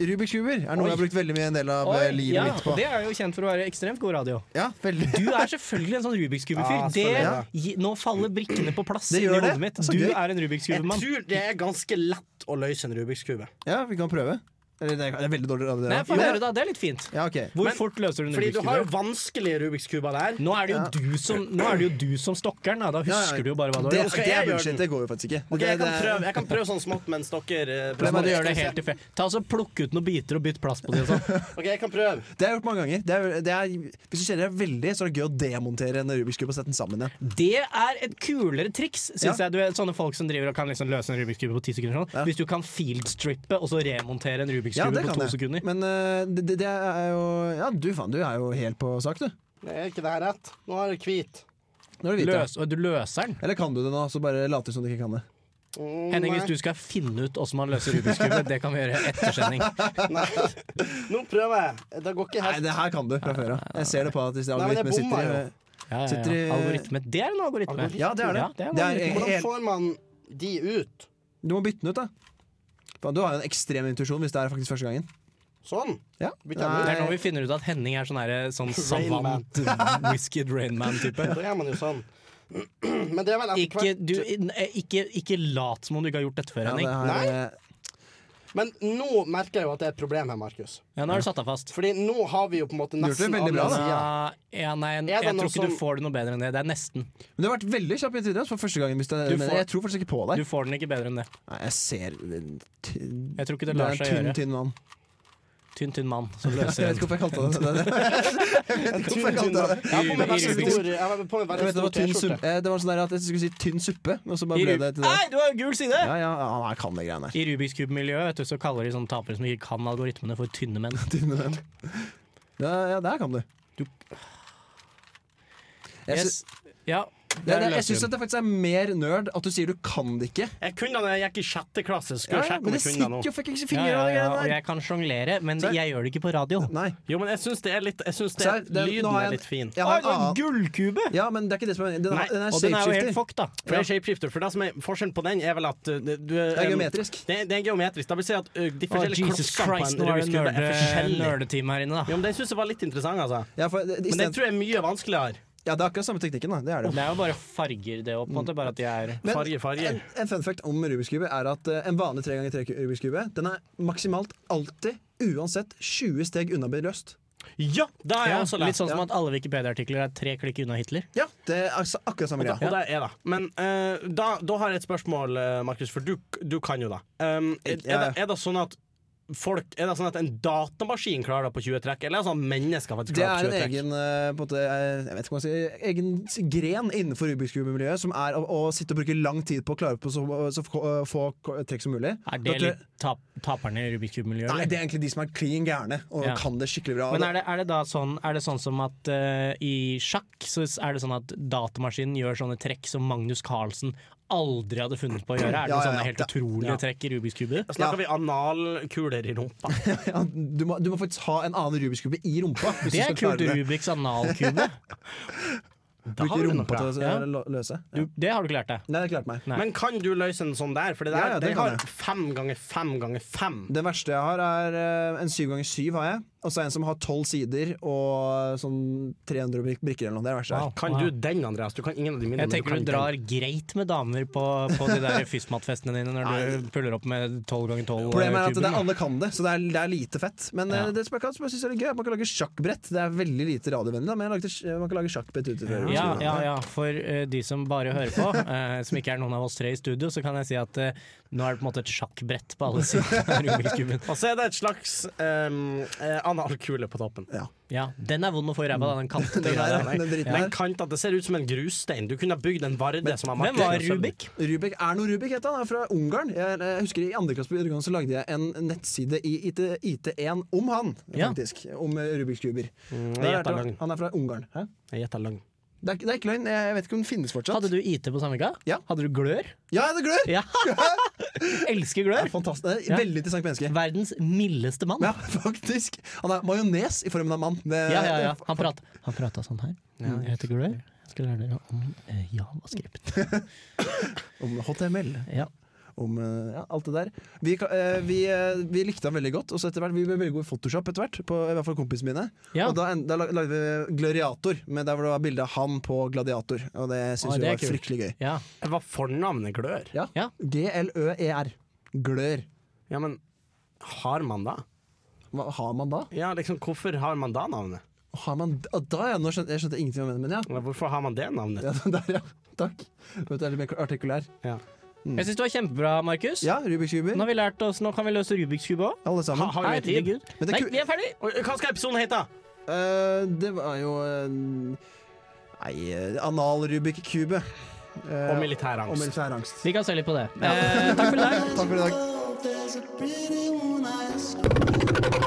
Rubiks kuber er noe jeg har brukt veldig mye en del av eh, Oi, livet ja, mitt på. og det er jo kjent for å være ekstremt god radio. Ja, veldig. Du er selvfølgelig en sånn Rubiks Ja, kube-fyr. selvfølgelig, ja. Det gi- nå faller brikkene på plass Det inni gjør det. hodet mitt. Så Du gøy. er en Rubiks Jeg kube-mann. tror det er ganske lett å løse en Rubiks kube. Ja, vi kan prøve. Eller det er, det er veldig dårlig radio. det Nei, da. få Jo, høre, da. Det er litt fint. Ja, ok. Hvor Men- fort løser du en Fordi Rubiks du har kube? jo vanskelige Rubiks kuber der. Nå er det jo du som, nå er det jo du som stokker den. Da. da Ja, husker ja. du jo bare hva du Det, har gjort. skal det jeg er gjøre bullshit. den? Det går jo faktisk ikke. Ok, Det- jeg, kan det- prøve, jeg kan prøve sånn smått mens Så dere eh, må Det er du bare- gjøre det helt tilfeldig. Ta altså, Plukk ut noen biter og bytt plass på dem. Sånn. Ok, jeg kan prøve. Det har jeg gjort mange ganger. Det er, det er, hvis du kjenner deg veldig, så er det gøy å demontere en Rubiks kube og sette den sammen igjen. Det er et kulere triks, syns Ja. jeg. Du er sånne folk som driver og kan liksom løse en Rubiks kube på ti sekunder. Sånn. Hvis du kan fieldstrippe og så remontere en Rubiks Ja, kube det på kan to jeg. sekunder. Men eh, det, det- det er jo Ja, du faen, du er jo helt på sak, du. Nei, Er ikke det her rett? Nå er det hvit. Nå er det hvite. Løs, og du løser den. Eller kan du det nå, så bare later som du ikke kan det. Mm, Henning, nei. hvis du skal finne ut hvordan man løser Rubiks kube, det kan vi gjøre etter sending. Nei. Nå prøver jeg. Det går ikke Nei, helt. det her kan du fra før av. Jeg ser det på at disse Nei, men jeg algoritmene sitter i bommer jo. Ja, ja, Sitter i- ja. Algoritme. Det er en algoritme. Ja, det er det. Ja, det er det veldig er Hvordan helt, får man de ut? du må bytte den ut, da. Faen, du har jo en ekstrem intuisjon hvis det er faktisk første gangen. Sånn? Ja. Bytter jeg Det den er nå vi finner ut at Henning er sånn, her, sånn Rain Man. savant, whisked rainman-type. ut? Da gjør man jo sånn. Men det er vel etter Ikke, hvert du, eh, ikke, ikke lat som om du ikke har gjort dette før, Ja, det Henning. her, Nei. eh, Men nå merker jeg jo at det er et problem her, Markus. Ja, nå har du satt deg fast. Fordi nå har vi jo på en måte Gjorde det nesten veldig bra, da. siden. Ja, ja, nei, Er det sånn jeg tror noe ikke du som- får det noe bedre enn det. Det er nesten. Men du har vært veldig kjapp i intervjuet for første gangen. Hvis det, Du men får- jeg tror faktisk ikke Du på deg. får den ikke bedre enn det. Nei, jeg ser en tynn- Jeg tror ikke det Du lar er en seg tynn, gjøre. tynn mann. Tynn, tynn mann som Jeg løser vet en ikke hvorfor jeg kalte det det. Jeg vet ikke hvorfor jeg Tynn, tynn, kalte da. det det. Jeg har på I- i meg veldig Rubiks- stor- jeg har på meg Jeg veldig vet, um det, stor var tynn T-skjorte. suppe. Eh, det var sånn der at jeg skulle si tynn suppe, og så bare I ble Rub- det til det. Nei, du har jo gul side! Ja, ja, ja, jeg kan det greiene her. I Rubiks kube-miljøet vet du, så kaller de sånne tapere som ikke kan algoritmene, for tynne menn. Tynne den. Ja, ja, der kan du. Du- Jeg, sy Yes. Ja, ja, der det, jeg løser syns hun. at det faktisk er mer nerd at du sier du kan det ikke. Jeg kunne da jeg gikk i sjette klasse. Ja, Skulle jeg ja, sjekke om men det jeg kunne da sitter nå. jo fuckings i Ja, ja, ja, fingrene, og de greiene der. jeg kan sjonglere, men Se. jeg gjør det ikke på radio. Nei. Jo, men jeg syns det er litt jeg synes det, Så her, det- nå Lyden har jeg er en- litt fin. Jeg har en annen. gullkube! Ja, men det er ikke det som er Den, Nei, den er Og den er jo helt shapeshifter. fucked, da. For det er shapeshifter. For det som er Forskjellen på den er vel at uh, det- du, Det er um, geometrisk. Det, det er geometrisk. Det vil si at uh, de Å, forskjellige Jesus klossene på Christ, nå en er Rubiks det kube er nerde- forskjellige. nerdetime her inne, da. Jo, men Den syns jeg var litt interessant, altså. Ja, for, det, Men i den stedet- tror jeg er mye vanskeligere. ja, det er akkurat samme teknikken, da. Det er det. Det er jo bare farger, det òg, på en måte. Bare at de er Men Farge, farge. En, en fun fact om Rubiks kube er at eh, en vanlig 3 ganger 3 Rubiks kube Den er maksimalt alltid, uansett, 20 steg unna å bli løst. Ja, da har ja, jeg også Litt lært. sånn som at alle Wikipedia-artikler er tre klikk unna Hitler. Ja, det er altså akkurat samme Og greia. der er det. Men eh, da, da har jeg et spørsmål, eh, Markus, for du, du kan jo da. Um, er, Ja, ja. det. Er det sånn at folk Er det sånn at en datamaskin klarer det på 20 trekk, eller er det sånn at mennesker faktisk Det er klarer en det på 20 trekk? egen, eh, på en måte, eh, jeg vet ikke hva man sier, egen s- gren innenfor Rubiks kube-miljøet som er å, å sitte og bruke lang tid på å klare på så, så få, eh, få k- trekk som mulig. Er det Dere- litt tap taperne i Rubiks kube-miljøet? Nei, eller? det er egentlig de som er klin gærne og Ja. kan det skikkelig bra. Men er det, er det da sånn, er det sånn som at eh, i sjakk så s- er det sånn at datamaskinen gjør sånne trekk som Magnus Carlsen aldri hadde funnet på å gjøre? Er det Ja, noen ja, ja. sånne helt Ja. utrolige Ja. trekk i Rubiks kube? Da snakker vi analkuler i rumpa. ja, du, må, du må faktisk ha en annen Rubiks kube i rumpa. hvis du Det er skal kult, klare det. Rubiks analkube. Bruke har du noe. rumpa til å Ja. lø- løse. Du, det har du ikke lært deg. Nei, det klarte meg. Nei. Men kan du løse en sånn der? For det der, Ja, ja, det den kan har jeg. fem ganger fem ganger fem. Den verste jeg har, er eh, en syv ganger syv, har jeg. Og så er det en som har tolv sider og sånn 300 brik- brikker eller noe. Det er det verste jeg har. Kan du den, Andreas? Du kan ingen av de mine. Jeg men tenker kan du drar greit med damer på, på de der festene dine når du puller opp med tolv ganger tolv. eh, Problemet er at det er alle kan det, så det er, det er lite fett. Men eh, Ja. det som jeg kan, som jeg synes er litt gøy, er at man kan lage sjakkbrett. Det er veldig lite radiovennlig, da, men jeg lagde, sj- man kan lage sjakkbrett ute. fra- Ja, ja, ja. For eh, de som bare hører på, eh, som ikke er noen av oss tre i studio, så kan jeg si at eh, nå er det på en måte et sjakkbrett på alle sider av Rubiks kuben. Og så er det et slags um, eh, Bananalkule på toppen. Ja, Den er vond å få i ræva, da, den kanten. Den der, Nei, den dritten Den der. kantete det ser ut som en grusstein. Du kunne ha bygd en varde som har Hvem var Rubik? Rubik, Erno Rubik het han, han er fra Ungarn. Jeg, jeg husker I andre klasse på videregående så lagde jeg en nettside i IT, IT1 om han, Ja. faktisk. Om eh, Rubiks kuber. Mm, jeg Der lærte gjetter han løgn. han er fra Ungarn. Hæ? Jeg gjetter løgn. Det, er, ikke- det er ikke løgn. Jeg vet ikke om den finnes fortsatt. Hadde du IT på Sandvika? Ja. Hadde du glør? Ja, det er glør! Ja. Elsker glør. Fantastisk. Det er Ja. et Veldig interessant menneske. Verdens mildeste mann. Ja, faktisk. Han er majones i formen av mann. Det- Ja, ja, ja. Han, prat, han prata sånn her. Jeg heter Glør. Jeg skal lære dere om eh, javascript. Om HTML. Ja. Om eh, ja, alt det der. Vi, ka- eh, vi, eh, vi likte han veldig godt, og så etter hvert Vi ble veldig gode i Photoshop etter hvert, på i hvert fall kompisene mine. Ja. Og da, en- da lag- lagde vi Gladiator, med der hvor det var bilde av han på Gladiator. Og det syns Oi, vi Ah, det er var kult. fryktelig gøy. ja. Det var fornavnet Glør. Ja. Ja. G-l-ø-e-r. E Glør. Ja, men har man da? Hva har man da? Ja, liksom, hvorfor har man da navnet? Har man, ah, da ja, nå skjønte, jeg skjønte ingenting om det, men ja. Ja, Hvorfor har man det navnet? ja. Der, ja. Takk. Vet du, jeg er litt mer artikulær. Ja. Jeg syns det var kjempebra, Markus. Ja, Rubiks kuber. Nå har vi lært oss, nå kan vi løse Rubiks kube òg. Alle sammen. Ha, har vi mer tid? Herregud. Men det Nei, er ku- vi er ferdig! Oi, Hva skal episoden hete? Eh, det var jo eh, Nei, eh, anal-Rubik-kube. Eh, Om militær og angst. militærangst. Vi kan se litt på det. Eh, takk for i dag. Takk for i dag. There's a pretty one I saw.